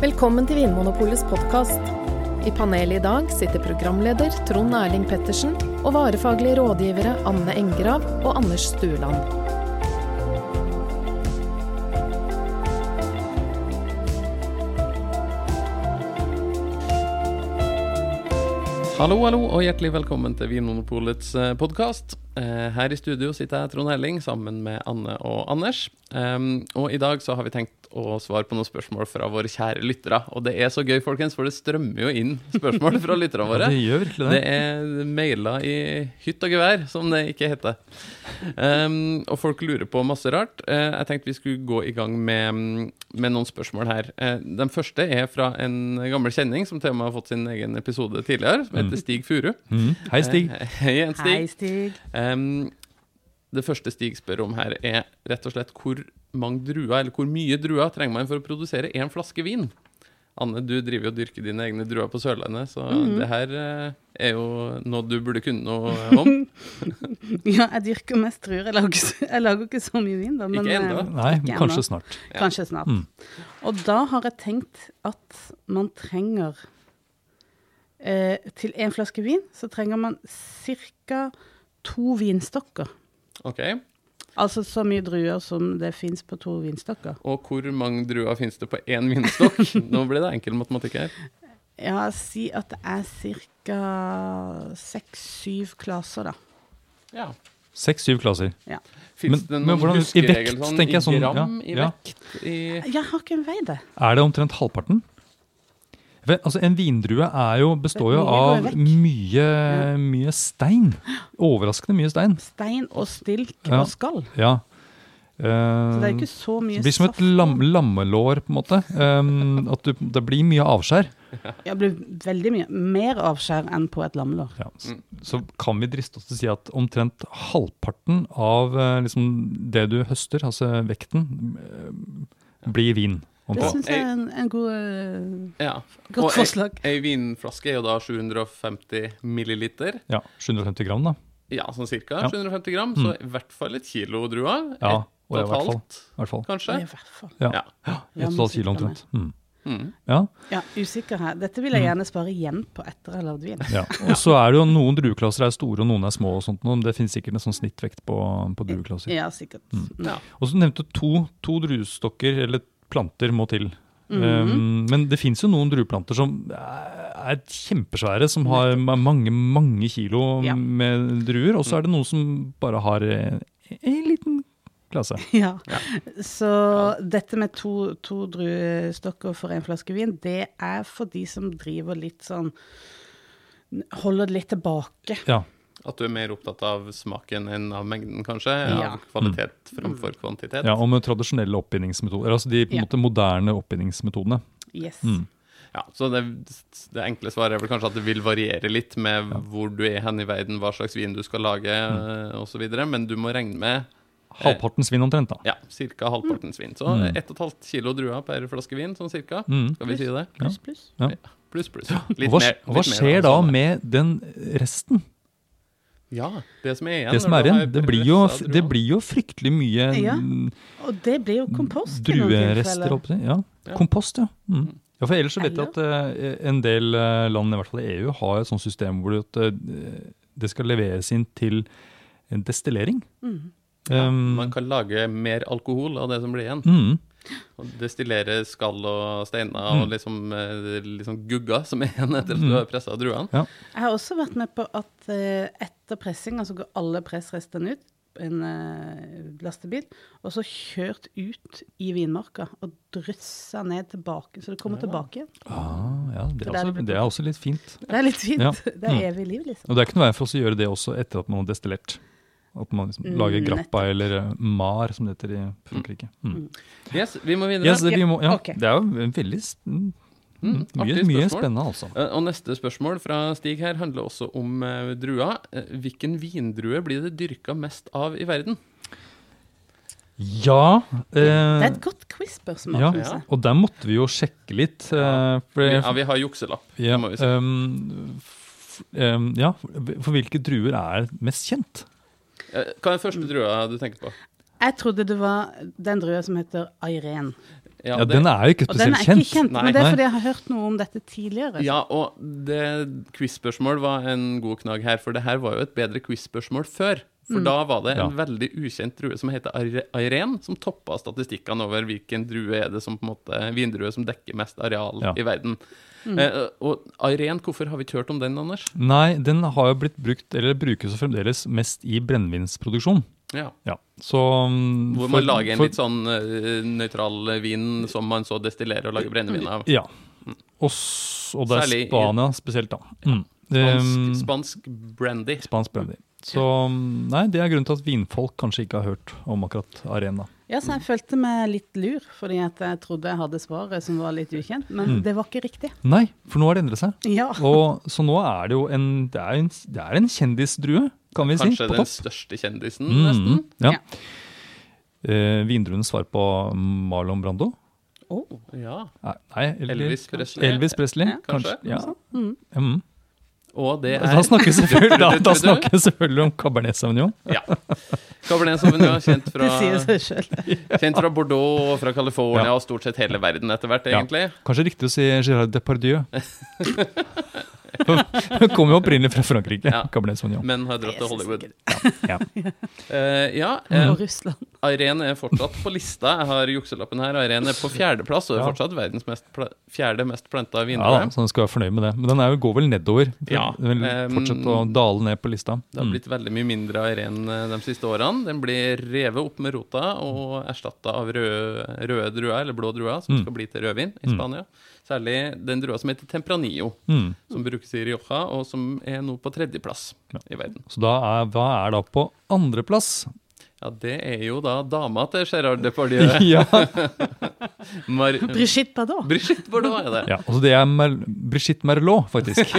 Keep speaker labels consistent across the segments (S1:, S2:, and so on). S1: Velkommen til Vinmonopolets podkast. I panelet i dag sitter programleder Trond Erling Pettersen og varefaglige rådgivere Anne Engrav og Anders Stueland.
S2: Hallo, hallo, og hjertelig velkommen til Vinmonopolets podkast. Her i studio sitter jeg, Trond Helling, sammen med Anne og Anders. Em, Og i dag så har vi tenkt å svare på noen spørsmål fra våre kjære lyttere. Og det er så gøy, folkens, for det strømmer jo inn spørsmål fra lytterne
S3: Ja,
S2: våre.
S3: det gjør virkelig det.
S2: Det er mailer i hytt og gevær, som det ikke heter. Em, og folk lurer på masse rart. Eh, jeg tenkte vi skulle gå i gang med, mm, med noen spørsmål her. Eh, den første er fra en gammel kjenning som til og med har fått sin egen episode tidligere, som heter Stig Furu.
S3: Mm. Hei, Stig.
S2: Eh, Hei, en
S4: Hei,
S2: Stig.
S4: Stig.
S2: Em, det første Stig spør om her, er rett og slett hvor mange druer, eller hvor mye druer trenger man for å produsere én flaske vin? Anne, du driver jo og dyrker dine egne druer på Sørlandet, så
S3: Mhm.
S2: det her eh, er jo noe du burde kunne noe om.
S4: Ja, jeg dyrker mest druer. Jeg lager, ikke- jeg lager ikke så mye vin, da. Men
S2: Ikke ennå.
S4: eh,
S3: Nei,
S4: ikke
S3: kanskje
S4: ennå.
S3: snart.
S4: Kanskje snart.
S3: Mm.
S4: Og da har jeg tenkt at man trenger eh, Til en flaske vin så trenger man ca. to vinstokker.
S2: Ok,
S4: Altså så mye druer som det fins på to vinstokker.
S2: Og hvor mange druer finnes det på én vinstokk? Nå blir det enkel matematikk her.
S4: Ja, si at det er ca. seks-syv klaser, da.
S2: Ja.
S3: Seks-syv klasser.
S2: Fins
S3: Men-
S2: det
S3: men
S2: noen
S3: hvordan- i
S2: huskeregel
S3: vekt,
S2: sånn
S3: tenker jeg
S2: i
S3: sånn, ja,
S2: gram, i
S3: ja.
S2: vekt, i
S4: Jeg har ikke en vei, det.
S3: Er det omtrent halvparten? Vel, altså, en vindrue er jo, består jo
S4: Mye går
S3: av
S4: vekk.
S3: mye, mye stein. Overraskende mye stein.
S4: Stein og stilk
S3: Ja.
S4: og skall.
S3: Ja.
S4: Så det er
S3: Eh,
S4: ikke så mye
S3: det blir som et
S4: saft.
S3: lam, lammelår, på en måte. Um, at du, det blir mye avskjær.
S4: Ja, det blir veldig mye mer avskjær enn på et lammelår.
S3: Ja. Så, så kan vi driste oss til å si at omtrent halvparten av eh, liksom, det du høster, altså vekten, eh, blir vin.
S4: Det
S3: Omtrent.
S4: syns jeg er en, en god, eh,
S2: Ja.
S4: godt
S2: Og ei-
S4: forslag.
S2: Ei vinflaske er jo da 750 milliliter.
S3: Ja, 750 gram, da.
S2: Ja, sånn cirka.
S3: Ja. Mm.
S2: 750 gram. Så i hvert fall et kilo druer. et og
S3: Ja, og i
S2: et
S3: hvert fall.
S2: halvt,
S3: I hvert fall.
S2: kanskje.
S4: I hvert fall.
S3: Ja.
S2: Ja.
S4: Ja,
S3: Ett og et
S4: men
S3: halvt kilo
S4: sikkert
S3: omtrent. Mm.
S2: Mm.
S3: Ja.
S4: Ja, usikker her. Dette vil jeg gjerne spare igjen på etter jeg har lagd vin.
S3: ja. Og så er det jo noen drueklasser er store, og noen er små og sånt. noe, men Det finnes sikkert en sånn snittvekt på, på drueklasser.
S4: Ja, sikkert. Mm.
S2: Ja.
S3: Og så nevnte du to, to druestokker, eller planter, må til.
S4: Mhm.
S3: Um, men det fins jo noen drueplanter som er er kjempesvære, som har ma- mange mange kilo
S4: Ja.
S3: med druer. Og så er det noen som bare har eh, en liten klasse.
S4: Ja. Så dette med to, to druestokker for en flaske vin, det er for de som driver litt sånn Holder det litt tilbake.
S3: Ja.
S2: At du er mer opptatt av smaken enn av mengden, kanskje.
S4: Ja.
S2: Av kvalitet fremfor kvantitet.
S3: Mm. Ja, og med tradisjonelle oppbindingsmetoder. Altså de på en
S4: Ja.
S3: måte moderne oppbindingsmetodene.
S4: Yes.
S2: Ja, så det, det enkle svaret er vel kanskje at det vil variere litt med hvor du er hen i verden, hva slags vin du skal lage
S3: Mm.
S2: eh, og så videre men du må regne med eh,
S3: Halvparten svinn omtrent, da.
S2: ja, ca. halvpartens vin. Så
S3: Mm.
S2: 1,5 kilo druer per flaske vin, sånn cirka.
S3: Mm.
S2: Skal vi si det?
S4: Pluss, pluss.
S2: Pluss, pluss. Litt
S3: Og hva,
S2: mer- litt mer
S3: og hva
S2: altså,
S3: skjer
S2: av
S3: da
S2: det samme.
S3: med den resten?
S2: Ja, det som er igjen.
S3: Det som
S2: når
S3: er
S2: du har
S3: igjen? Det blir jo,
S2: presset druer.
S3: det blir jo fryktelig mye
S4: Ja.
S3: mm,
S4: Og det blir jo kompost. i noen tilfeller.
S3: druerester. holdt jeg på å si. Ja.
S2: Ja.
S3: Kompost, ja. Mm. ja. For ellers så vet jeg at eh, en del eh, land, i hvert fall i EU, har et sånt system hvor det, at, eh, det skal leveres inn til en destillering.
S4: Mm.
S3: Um,
S2: Man kan lage mer alkohol av det som blir igjen.
S3: mm,
S2: Og destillere skall og steiner og liksom, eh, liksom gugga som er igjen etter at
S3: Mm.
S2: du har pressa druene.
S4: Jeg har også vært med på at eh, etter pressinga så går alle pressrestene ut på en eh, lastebil, og så kjørt ut i vinmarka og dryssa ned tilbake, så det kommer tilbake igjen.
S3: ah, ja, det,
S4: For
S3: er
S4: der
S3: også,
S4: blir-
S3: det er også litt fint.
S4: Det er litt fint.
S3: Ja. Mm.
S4: Det er evig liv, liksom.
S3: Og det er ikke noe vei for oss å gjøre det også etter at man har destillert. At man liksom
S4: Mm,
S3: lager grappa eller eh, mar, som det heter i Frankrike. Mm.
S2: Yes, vi må videre.
S3: Yes, det, vi må, ja,
S4: ok.
S3: det er jo en veldig s- mm,
S2: Mm,
S3: mye,
S2: artig
S3: mye
S2: spørsmål.
S3: spennende, altså.
S2: Eh, Og neste spørsmål fra Stig her handler også om eh, druer. Eh, Hvilken vindrue blir det dyrka mest av i verden?
S3: Ja,
S4: Det
S3: eh,
S4: er et godt quiz-spørsmål,
S3: ja.
S4: syns jeg.
S3: Og der måtte vi jo sjekke litt. Eh, for,
S2: Vi, ja, vi har jukselapp.
S3: ja,
S2: må vi si.
S3: ehm, f- ehm, ja, for hvilke druer er mest kjent?
S2: Eh, Hva er den første drua du tenker på?
S4: Jeg trodde det var den drua som heter Airen.
S3: Ja, Den er jo ikke
S4: Og den
S3: spesielt
S4: er ikke
S3: kjent.
S4: kjent,
S2: Nei.
S4: men det
S3: Nei.
S4: er fordi jeg har hørt noe om dette tidligere.
S2: Ja, og det quiz-spørsmål var en god knagg her, for det her var jo et bedre quiz-spørsmål før. For da var det en
S3: Ja.
S2: veldig ukjent drue som heter Aire- Airen, som toppa statistikkene over hvilken drue er det som på en måte, vindrue som dekker mest areal
S3: Ja.
S2: i verden. Eh, og Airen, hvorfor har vi ikke hørt om den, Anders?
S3: Nei, den har jo blitt brukt, eller brukes jo fremdeles mest i brennevinsproduksjon.
S2: Ja.
S3: Ja, så mm,
S2: Hvor
S3: for-
S2: man lager en
S3: for-
S2: litt sånn eh, nøytral vin som man så destillerer og lager brennevin av.
S3: Ja. Og, s- og det er
S2: sånn- Mm. Særlig i-
S3: Spania spesielt, da. Mm.
S2: Spansk,
S3: Ehm,
S2: spansk brandy.
S3: spansk brandy. Så mm, nei, det er grunnen til at vinfolk kanskje ikke har hørt om akkurat Arena.
S4: Ja, så jeg følte meg litt lur, fordi at jeg trodde jeg hadde svaret som var litt ukjent, men
S3: Mm.
S4: det var ikke riktig.
S3: Nei, for nå har det endret seg.
S4: Ja.
S3: Og, så nå er det jo en Det er en, det er en kjendisdrue, kan vi si.
S2: Kanskje
S3: På
S2: den
S3: topp.
S2: største kjendisen, nesten.
S3: Mm, ja.
S4: Ja.
S3: Eh, vindruen svarer på Marlon Brando.
S2: Ja.
S3: Nei, nei eller,
S2: Elvis Presley.
S3: Elvis Presley,
S4: Ja,
S3: kanskje.
S2: kanskje.
S3: Ja.
S4: Mm.
S3: Mm.
S2: Og det
S3: Da
S2: er
S3: snakker vi selvfølgelig, da,
S2: Du- du-
S3: da
S2: du-
S3: snakker vi selvfølgelig om Cabernet Sauvignon.
S2: Ja. Cabernet Sauvignon, kjent fra,
S4: Det sier seg sjøl.
S2: kjent fra Bordeaux og fra California
S3: Ja.
S2: og stort sett hele verden etter hvert,
S3: Ja.
S2: egentlig.
S3: Kanskje riktig å si Gérard Depardieu. Den kommer jo opprinnelig fra Frankrike.
S2: Ja.
S3: Cabernet Sauvignon.
S2: Men har dratt
S4: Det er
S2: til Hollywood.
S4: sikkert.
S3: Ja.
S2: Eh, ja,
S4: Og
S2: uh,
S4: Russland.
S2: Irén er fortsatt på lista. Jeg har jukselappen her. Irén er på fjerdeplass, og er
S3: Ja.
S2: fortsatt verdens mest pla fjerde mest planta
S3: Ja,
S2: vindrue.
S3: da, så den skal være fornøyd med det. Men den er jo, går vel nedover.
S2: Ja,
S3: Den vil
S2: ehm,
S3: fortsette å dale ned på lista. Mm.
S2: det har blitt veldig mye mindre Irén de siste årene. Den blir revet opp med rota og erstatta av røde, røde druer, eller blå druer, som
S3: Mm.
S2: skal bli til rødvin i
S3: Mm.
S2: Spania. Særlig den drua som heter Tempranillo,
S3: Mm. Mm.
S2: som brukes i Rioja, og som er nå på tredjeplass i verden.
S3: Så da er, hva er da på andreplass?
S2: Ja, det er jo da dama til Gerard Depardieu.
S3: Ja.
S2: Mar
S4: Brigitte Bardot.
S2: Brigitte Bordeaux er det.
S3: ja, altså det er Mer Brigitte Merlot, faktisk.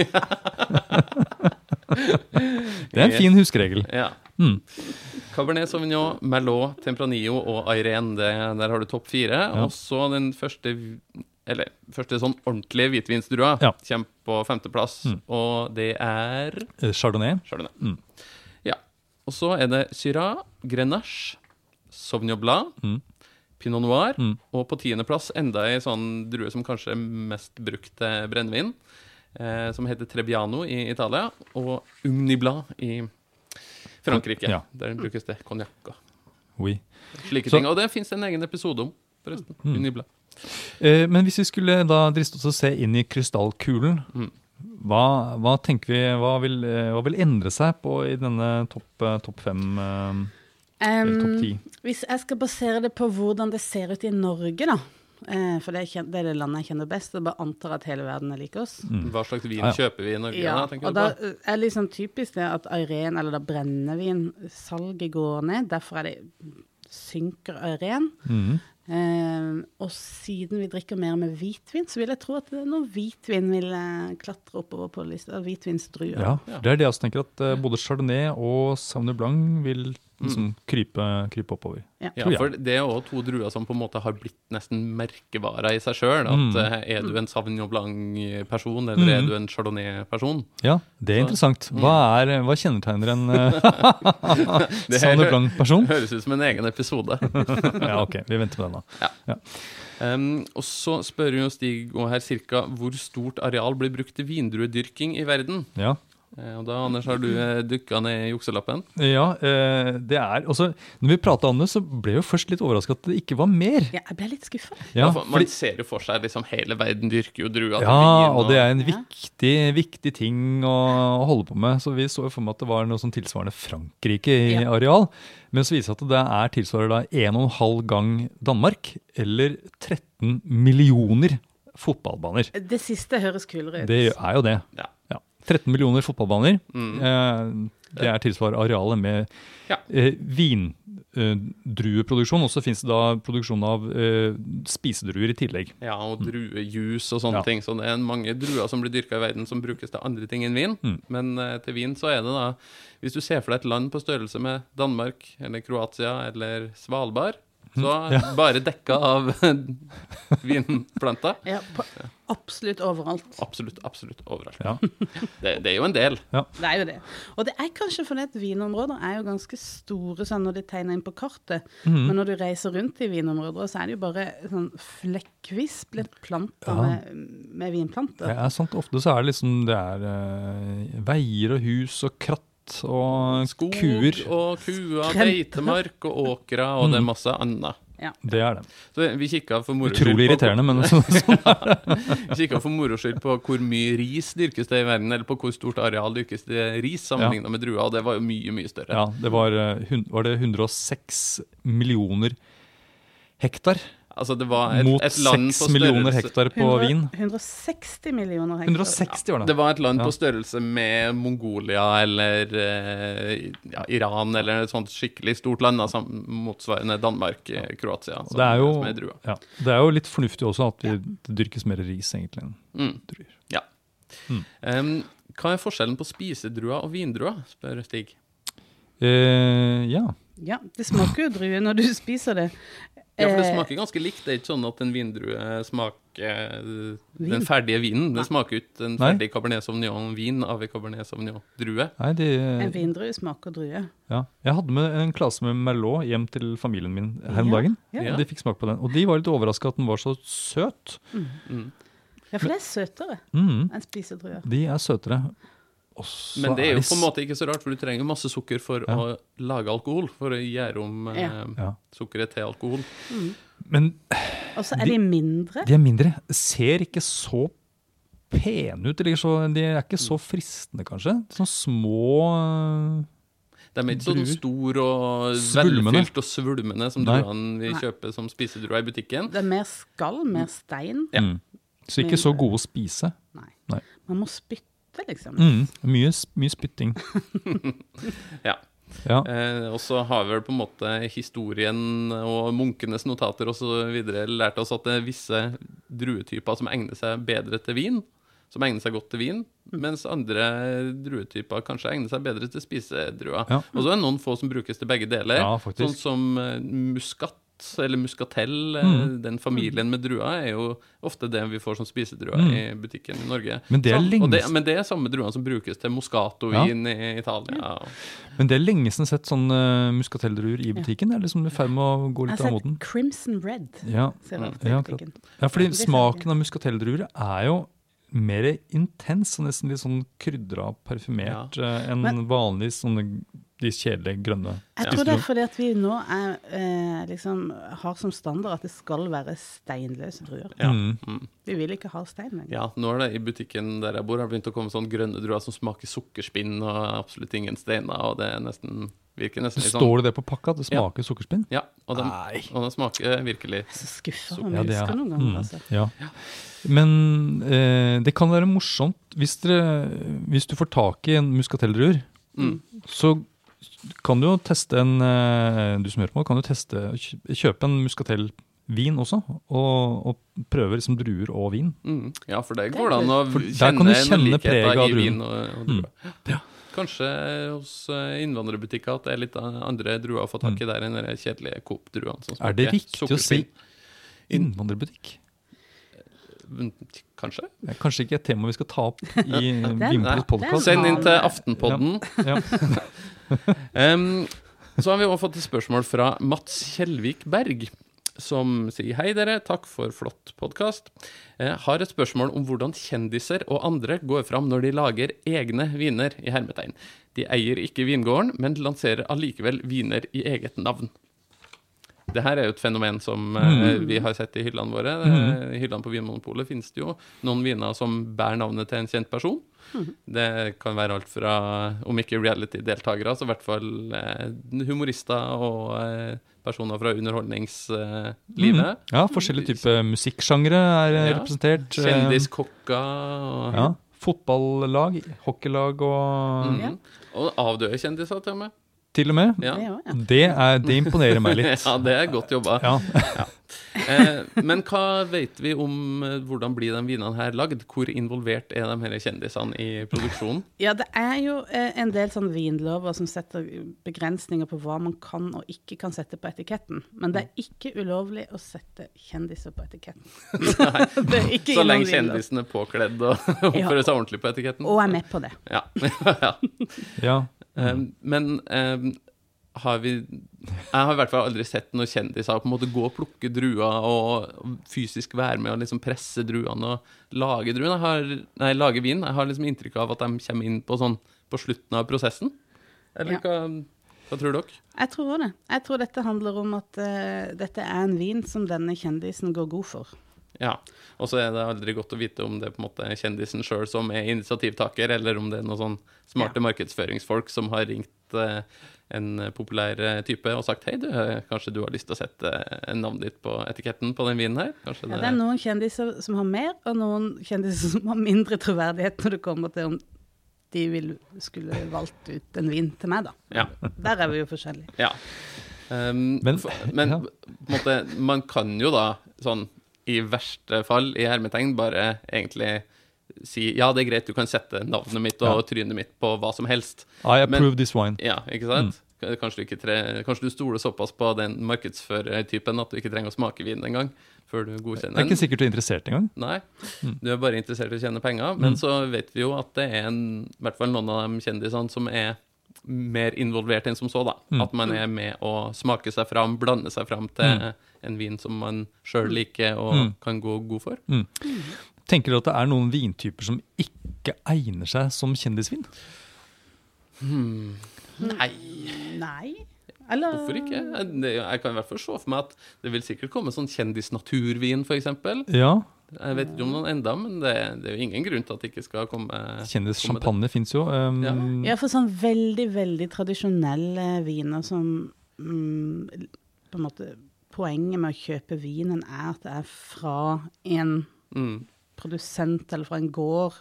S3: det er en fin huskeregel.
S2: Ja.
S3: Mm.
S2: Cabernet Sauvignon, Merlot, Tempranillo og Irene. Det, der har du topp fire.
S3: Ja.
S2: Og så den første eller første sånn ordentlige hvitvinsdrua
S3: Ja.
S2: kommer på femteplass,
S3: Mm.
S2: og det er
S3: Eh, Chardonnay.
S2: Chardonnay.
S3: Mm.
S2: Ja. Og så er det Syrah, Grenache, Sauvignon Blanc,
S3: Mm.
S2: Pinot Noir,
S3: Mm.
S2: og på tiendeplass enda ei sånn drue som kanskje er mest brukt til brennevin, eh, som heter Trebbiano i Italia, og Umnibla i Frankrike,
S3: Ja.
S4: Mm.
S2: der den brukes til konjakk og
S3: Oui.
S2: slike
S3: Så-
S2: ting. Og det fins en egen episode om, forresten.
S3: Mm.
S2: Unibla.
S3: Eh, men hvis vi skulle da driste oss til å se inn i krystallkulen,
S2: Mm.
S3: hva, hva tenker vi, hva vil, eh, hva vil endre seg på i denne topp, eh, topp fem, eh, eller
S4: Em,
S3: topp ti?
S4: Hvis jeg skal basere det på hvordan det ser ut i Norge, da. eh, For det er, kjen- det er det landet jeg kjenner best, og bare antar at hele verden er lik oss.
S2: Hva slags vin
S3: Mm. Ja, ja.
S2: kjøper vi i Norge?
S4: Ja,
S2: da, Mm. tenker
S4: og
S2: du på?
S4: da eh, er det liksom typisk det at Irén, eller da brennevinsalget går ned. Derfor er det synker Irén.
S3: Mhm.
S4: Eh, og siden vi drikker mer med hvitvin, så vil jeg tro at det er noe hvitvin vil eh, klatre oppover på lista. Hvitvinsdruer.
S3: Ja, det er det jeg også tenker, at eh, både Chardonnay og Sauvignon Blanc vil liksom krype, krype oppover.
S2: Ja,
S3: tror jeg.
S2: for det er òg to druer som på en måte har blitt nesten merkevarer i seg sjøl.
S3: Mm.
S2: At eh, er du en Sauvignon Blanc-person, eller er du en Chardonnay-person?
S3: Ja, det er interessant. Hva, er, hva kjennetegner en eh,
S2: Det her
S3: Sauvignon Blanc-person?
S2: høres ut som en egen episode.
S3: Ja, ok, vi venter på den da.
S2: Um, og så spør jo Stig og her cirka hvor stort areal blir brukt til vindruedyrking i verden.
S3: Ja,
S2: Eh, og da, Anders, har du uh, dykka ned i jukselappen.
S3: ja eh, det er, også, når vi pratet om det, så ble jeg jo først litt overrasket at det ikke var mer.
S4: Ja, jeg ble litt skuffa.
S3: Ja,
S2: for, man
S3: fordi,
S2: ser jo for seg liksom hele verden dyrker jo druer. til
S3: ja
S2: vin,
S3: og det er en
S4: Ja.
S3: viktig, viktig ting å, å holde på med. Så vi så jo for meg at det var noe sånn tilsvarende Frankrike i
S4: Ja.
S3: areal. Men så viser det seg at det er tilsvarer da 1,5 gang Danmark, eller 13 millioner fotballbaner.
S4: Det siste høres kulere ut.
S3: Det er jo det.
S2: Ja.
S3: 13 millioner fotballbaner.
S2: Mm.
S3: Eh, det er tilsvarer arealet med
S2: Ja.
S3: eh, vindrueproduksjon. Og så fins det da produksjon av eh, spisedruer i tillegg.
S2: Ja, og druejus og sånne
S3: Mm. Ja.
S2: ting. Så det er mange druer som blir dyrka i verden som brukes til andre ting enn vin.
S3: Mm.
S2: Men eh, til vin så er det da Hvis du ser for deg et land på størrelse med Danmark eller Kroatia eller Svalbard,
S3: Mm.
S2: Så bare dekka av vinplanta.
S4: Ja, på absolutt overalt.
S2: Absolutt, absolutt overalt.
S3: Ja.
S2: Det, det er jo en del.
S4: Det er jo det. Og det er kanskje fordi at vinområder er jo ganske store sånn når de tegner inn på kartet.
S3: Mhm.
S4: Men når du reiser rundt i vinområder, så er det jo bare sånn flekkvis blir
S3: Ja.
S4: planta med, med vinplanter.
S3: Det er sant. Ofte så er det liksom det er eh, veier og hus og kratt og
S2: Skog
S3: kuer.
S2: og kuer,
S4: Kjempe.
S2: beitemark og åkre, og
S3: Mm.
S2: det er masse annet.
S3: Det er det.
S2: Så vi kikka for moro
S3: Utrolig
S2: skyld på-
S3: irriterende, men sånn. sånn.
S2: Vi kikka for moro skyld på hvor mye ris dyrkes det i verden, eller på hvor stort areal dyrkes det ris sammenligna med druer, og det var jo mye, mye større.
S3: Ja, det var, eh, hun- var det 106 millioner hektar
S2: Altså, det var et,
S3: mot
S2: et land på
S3: 6 millioner
S2: størrelse
S3: hektar på
S4: 100
S3: vin.
S4: 160 millioner hektar.
S3: 160 var
S2: Det
S3: det.
S2: var et land
S3: Ja.
S2: på størrelse med Mongolia eller eh, ja, Iran, eller et sånt skikkelig stort land, da, sam- motsvarende Danmark, eh, Kroatia.
S3: Og Det er,
S2: som er
S3: jo,
S2: drua.
S3: ja, det er jo litt fornuftig også at vi det dyrkes mer ris egentlig enn
S2: Mm.
S3: druer. Mm.
S2: Em, hva er forskjellen på spisedrua og vindrua, spør Stig.
S3: Eh, ja.
S4: Ja, det smaker jo drue når du spiser det.
S2: Ja, for det
S4: Eh,
S2: smaker ganske likt. Det er ikke sånn at en vindrue smaker eh,
S4: Vin.
S2: den ferdige vinen. Det smaker jo ikke en
S3: Nei.
S2: ferdig Cabernet Sauvignon-vin av en Cabernet Sauvignon-drue.
S3: Nei, de,
S4: En vindrue smaker drue.
S3: Ja. Jeg hadde med en klase med Merlot hjem til familien min her om
S4: Ja,
S3: dagen.
S4: ja.
S3: Og de fikk smake på den. Og de var litt overraska at den var så søt.
S4: Ja, for det er søtere
S3: Mm,
S4: enn spisedruer.
S3: de er søtere. Og så
S2: Men det er jo
S3: de
S2: på en
S3: s-
S2: måte ikke så rart, for du trenger masse sukker for å lage alkohol. For å gjøre om eh,
S3: Ja.
S2: sukkeret til alkohol.
S3: Men
S4: Og så er de mindre.
S3: de er mindre. Ser ikke så pene ut. Eller så, de er ikke så fristende, kanskje. Sånn små øh,
S2: De er ikke sånn
S3: Druer.
S2: store og
S3: Svulmende.
S2: velfylt og svulmende som
S3: Nei.
S2: druene vi
S4: Nei.
S2: kjøper som spisedruer i butikken.
S4: Det er mer skall, mer stein.
S2: Ja.
S3: mm. Så ikke så gode å spise.
S4: Nei.
S3: Nei.
S4: Man må spytte, liksom.
S3: Mm. Mye, s- mye spytting.
S2: Ja.
S3: Ja.
S2: Eh, og så har vel på en måte historien og munkenes notater og så videre lært oss at det er visse druetyper som egner seg bedre til vin, som egner seg godt til vin,
S3: Mm.
S2: mens andre druetyper kanskje egner seg bedre til spisedruer.
S3: Ja.
S2: Og så er det noen få som brukes til begge deler,
S3: Ja, faktisk.
S2: sånn som eh, muskatt. Eller muskatell, eh,
S3: Mm.
S2: den familien med druer, er jo ofte det vi får som spisedruer i butikken i Norge.
S3: Mm. Men det er
S2: Sam- og det,
S3: lengst-
S2: men det er samme druene som brukes til moscatovin i Italia. og-
S3: Men det er lenge siden jeg har sett sånne øh, muskateldruer i butikken. Det er liksom i ferd med å gå
S4: Jeg
S3: litt
S4: har
S3: av
S4: sett
S3: moten.
S4: Crimson Red.
S3: Ja.
S4: Ser
S2: Mm.
S4: jeg ofte i
S3: Ja,
S4: butikken.
S3: Ja, fordi
S4: Det ser jeg.
S3: smaken av muskateldruer er jo mer intens og nesten litt sånn krydra og parfymert eh, enn
S4: Men-
S3: vanlig sånne de kjedelige grønne.
S4: Jeg tror det er fordi at vi nå er, eh, liksom, har som standard at det skal være steinløse druer.
S2: Ja.
S3: Mm.
S4: Vi vil ikke ha stein lenger.
S2: Ja, nå er det i butikken der jeg bor, har det begynt å komme sånne grønne druer som smaker sukkerspinn og absolutt ingen steiner, og det er nesten, virker nesten litt sånn
S3: Står det det på pakka at det
S2: Ja.
S3: smaker sukkerspinn?
S2: Ja, og de,
S3: Nei.
S2: og de smaker virkelig
S4: Jeg er så skuffa om
S3: Ja,
S4: jeg
S3: det er-
S4: husker noen
S3: mm,
S4: ganger. Altså.
S3: Ja. Men eh, det kan være morsomt hvis, dere, hvis du får tak i en muskateldruer,
S2: Mm.
S3: så kan du jo teste en eh, Du som hører på, kan jo teste kjø- kjøpe en muskatelvin også, og, og prøve liksom druer og vin.
S2: mm, Ja, for det går det an å
S3: For der
S2: kjenne,
S3: kan du
S2: noen
S3: kjenne
S2: likheter
S3: preget av Mm.
S2: i
S3: druen.
S2: vin Og, og druer. Kanskje hos eh, innvandrerbutikker at det er litt eh, andre druer å få tak i der enn de kjedelige Coop-druene som
S3: Mm. Er det
S2: smaker
S3: riktig å si
S2: sukkerspinn.
S3: innvandrerbutikk?
S2: Mm, Kanskje?
S3: Det er kanskje ikke et tema vi skal ta opp i Vinpols
S4: den
S3: podkast.
S2: Send inn til
S4: har-
S2: Aftenpodden.
S3: Ja.
S2: Em, så har vi også fått et spørsmål fra Mats Kjellvik Berg, som sier hei dere, takk for flott podkast. Har et spørsmål om hvordan kjendiser og andre går fram når de lager egne viner i hermetegn. De eier ikke vingården, men lanserer allikevel viner i eget navn. Det her er jo et fenomen som eh,
S3: Mm.
S2: vi har sett i hyllene våre. Eh, I hyllene på Vinmonopolet finnes det jo noen viner som bærer navnet til en kjent person. Det kan være alt fra, om ikke reality-deltakere, så i hvert fall eh, humorister og eh, personer fra underholdningslivet.
S3: Mm. Ja, forskjellige typer musikksjangre er eh,
S2: Ja.
S3: representert. eh,
S2: Kjendiskokker og,
S3: Ja. Fotballag, hockeylag og
S2: Mhm.
S4: Ja.
S2: og avdøde kjendiser, til og med.
S3: til og med.
S2: Ja.
S4: Det òg, ja.
S3: Det, er, det imponerer meg litt.
S2: ja, det er godt jobba.
S3: Ja.
S2: Eh, men hva vet vi om eh, hvordan blir de vinene her lagd? Hvor involvert er de her kjendisene i produksjonen?
S4: Ja, det er jo eh, en del sånn vinlover som setter begrensninger på hva man kan og ikke kan sette på etiketten. Men det
S3: Mm.
S4: er ikke ulovlig å sette kjendiser på etiketten.
S2: Nei,
S4: Det er ikke
S2: så
S4: innom
S2: lenge
S4: vinlov.
S2: kjendisen er påkledd og oppfører seg ordentlig på etiketten.
S4: Og er med på det.
S2: Ja. ja.
S3: Ja.
S2: Um, men um, har vi Jeg har i hvert fall aldri sett noen kjendiser på en måte gå og plukke druer og fysisk være med og liksom presse druene og lage druen. Jeg har, nei, lage vin. Jeg har liksom inntrykk av at de kommer inn på sånn på slutten av prosessen. Eller
S4: Ja.
S2: hva, hva tror dere?
S4: Jeg tror også det. Jeg tror dette handler om at eh, dette er en vin som denne kjendisen går god for.
S2: Ja. Og så er det aldri godt å vite om det er på en måte kjendisen sjøl som er initiativtaker, eller om det er noen sånn smarte markedsføringsfolk som har ringt eh, en populær eh, type og sagt hei, du, eh, kanskje du har lyst til å sette eh, navnet ditt på etiketten på den vinen her? Kanskje
S4: Ja, det er noen kjendiser som har mer, og noen kjendiser som har mindre troverdighet når det kommer til om de vil, skulle valgt ut en vin til meg, da.
S2: Ja.
S4: Der er vi jo forskjellige.
S2: ja. Um,
S3: Men-
S2: men men
S3: ja.
S2: på en måte, man kan jo da sånn i verste fall, i hermetegn, bare egentlig si ja, det er greit, du kan sette navnet mitt og trynet mitt på hva som helst.
S3: I
S2: Men-
S3: approve this wine.
S2: Ja, ikke sant? K- Kanskje, du ikke tre... Kanskje du stoler såpass på den markedsførertypen at du ikke trenger å smake vinen engang før du
S3: Det er
S2: godkjenner
S3: ikke Mm.
S2: den.
S3: sikkert du er interessert engang.
S2: Nei, du er bare interessert i å tjene penger.
S3: Mm.
S2: Men så vet vi jo at det er en, i hvert fall noen av de kjendisene som er mer involvert enn som så, da.
S3: Mm.
S2: At man er med å smake seg fram, blande seg fram til
S3: Mm.
S2: en vin som man sjøl liker og kan gå god for.
S3: Tenker du at det er noen vintyper som ikke egner seg som kjendisvin?
S2: Nei,
S4: Nei? Eller
S2: hvorfor ikke? Jeg, det- jeg kan i hvert fall se for meg at det vil sikkert komme sånn kjendisnaturvin, for eksempel.
S3: Ja,
S2: Jeg vet ikke om noen enda, men det, det er jo ingen grunn til at det ikke skal komme komme
S3: kjendissjampanje fins jo. Um,
S2: Ja.
S4: Ja, for sånn veldig, veldig tradisjonelle viner som mm, på en måte Poenget med å kjøpe vinen er at det er fra en
S2: det. Mm.
S4: produsent eller fra en gård.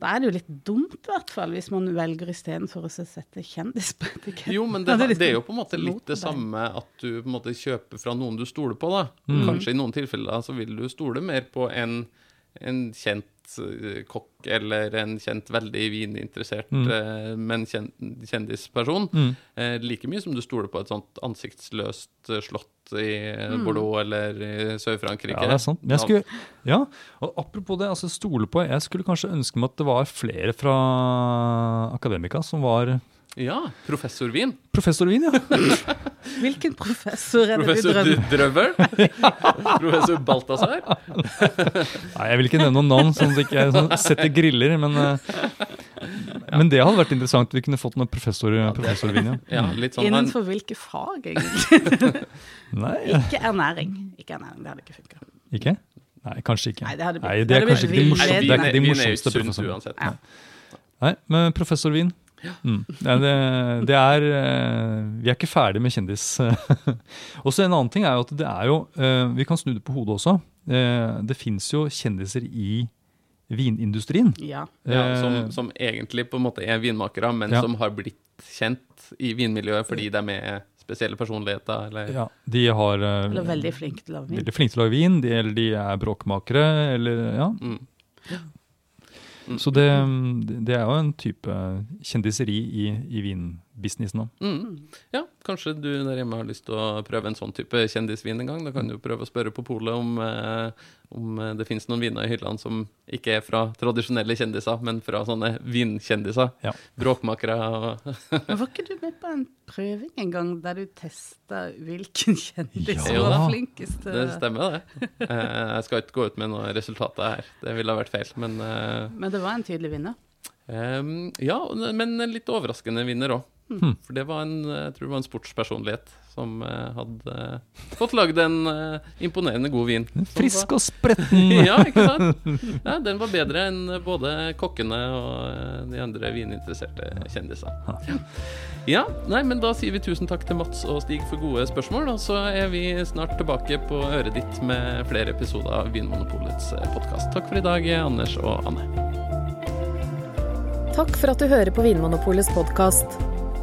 S4: Da er det jo litt dumt, i hvert fall, hvis man velger istedenfor å sette kjendis på etiketten.
S2: Jo, men det,
S4: Ja, det er litt
S2: det er jo på en måte litt
S4: mot
S2: det
S4: deg.
S2: samme at du på en måte kjøper fra noen du stoler på, da.
S3: Mm.
S2: Kanskje i noen tilfeller så vil du stole mer på en, en kjent eh, kokk eller en kjent veldig vininteressert,
S3: Mm.
S2: eh, men kjen, kjendisperson. Eh, like mye som du stoler på et sånt ansiktsløst eh, slott i eh,
S4: Mm.
S2: Bordeaux eller i Sør-Frankrike.
S3: Ja, det er sant. Men jeg skulle, ja, og apropos det, altså stole på Jeg skulle kanskje ønske meg at det var flere fra Akademika som var
S2: Ja, professorvin.
S3: professorvin, ja.
S4: Hvilken professor er det du
S2: Professor
S4: drømmer
S2: Drøvel. Professor Balthazar.
S3: Nei, jeg vil ikke nevne noen navn, sånn at jeg ikke sånn, setter griller, men eh, Men det hadde vært interessant. Vi kunne fått noen professor, professorvin, ja.
S2: Ja, litt sånn han-
S4: Innenfor hvilke fag, egentlig?
S3: Nei,
S4: Ikke ernæring. Ikke ernæring, det hadde ikke funka.
S3: ikke? Nei, kanskje ikke.
S4: Nei, det hadde blitt-
S3: Nei,
S4: det
S3: det
S4: hadde
S3: er kanskje
S4: blitt
S3: ikke de
S4: vill
S3: morsomste,
S4: led,
S3: det er
S4: nei.
S3: ikke de
S2: Vin er jo
S3: morsomste
S2: sunt
S3: professorene.
S2: uansett.
S4: Ja.
S3: Nei, men professor Wien mm. Nei, det, det er eh, Vi er ikke ferdig med kjendis. Og så en annen ting er jo at det er jo eh, Vi kan snu det på hodet også. Eh, Det fins jo kjendiser i vinindustrien.
S4: Ja.
S2: Ja,
S3: Eh,
S2: som, som egentlig på en måte er vinmakere, men
S3: Ja.
S2: som har blitt kjent i vinmiljøet fordi de er spesielle personligheter. Eller,
S3: ja, de har eh,
S4: Eller veldig flink til å lage vin.
S3: veldig flinke til å lage vin, de, eller de er bråkmakere, eller ja.
S2: Mm.
S3: Så det, det er jo en type kjendiseri i, i vinbusinessen òg.
S2: Mm. ja, kanskje du der hjemme har lyst til å prøve en sånn type kjendisvin en gang? Da kan du prøve å spørre på polet om, eh, om eh, det finnes noen viner i hyllene som ikke er fra tradisjonelle kjendiser, men fra sånne vinkjendiser.
S3: Ja.
S2: Bråkmakere og
S4: Men var ikke du med på en prøving en gang der du testa hvilken kjendis som
S2: Ja.
S4: var flinkest?
S2: Det stemmer, det. Eh, jeg skal ikke gå ut med noen resultater her, det ville ha vært feil. Men eh,
S4: Men det var en tydelig vinner.
S2: Ehm, ja, men en litt overraskende vinner òg. For det var en, jeg tror det var en sportspersonlighet som eh, hadde fått lagd en eh, imponerende god vin. Som
S3: Frisk
S2: var-
S3: og spretten!
S2: ja, ikke sant? Ja, den var bedre enn både kokkene og eh, de andre vininteresserte kjendisene. Ja, nei, men da sier vi tusen takk til Mats og Stig for gode spørsmål, og så er vi snart tilbake på øret ditt med flere episoder av Vinmonopolets podkast. Takk for i dag, Anders og Anne.
S1: Takk for at du hører på Vinmonopolets podkast.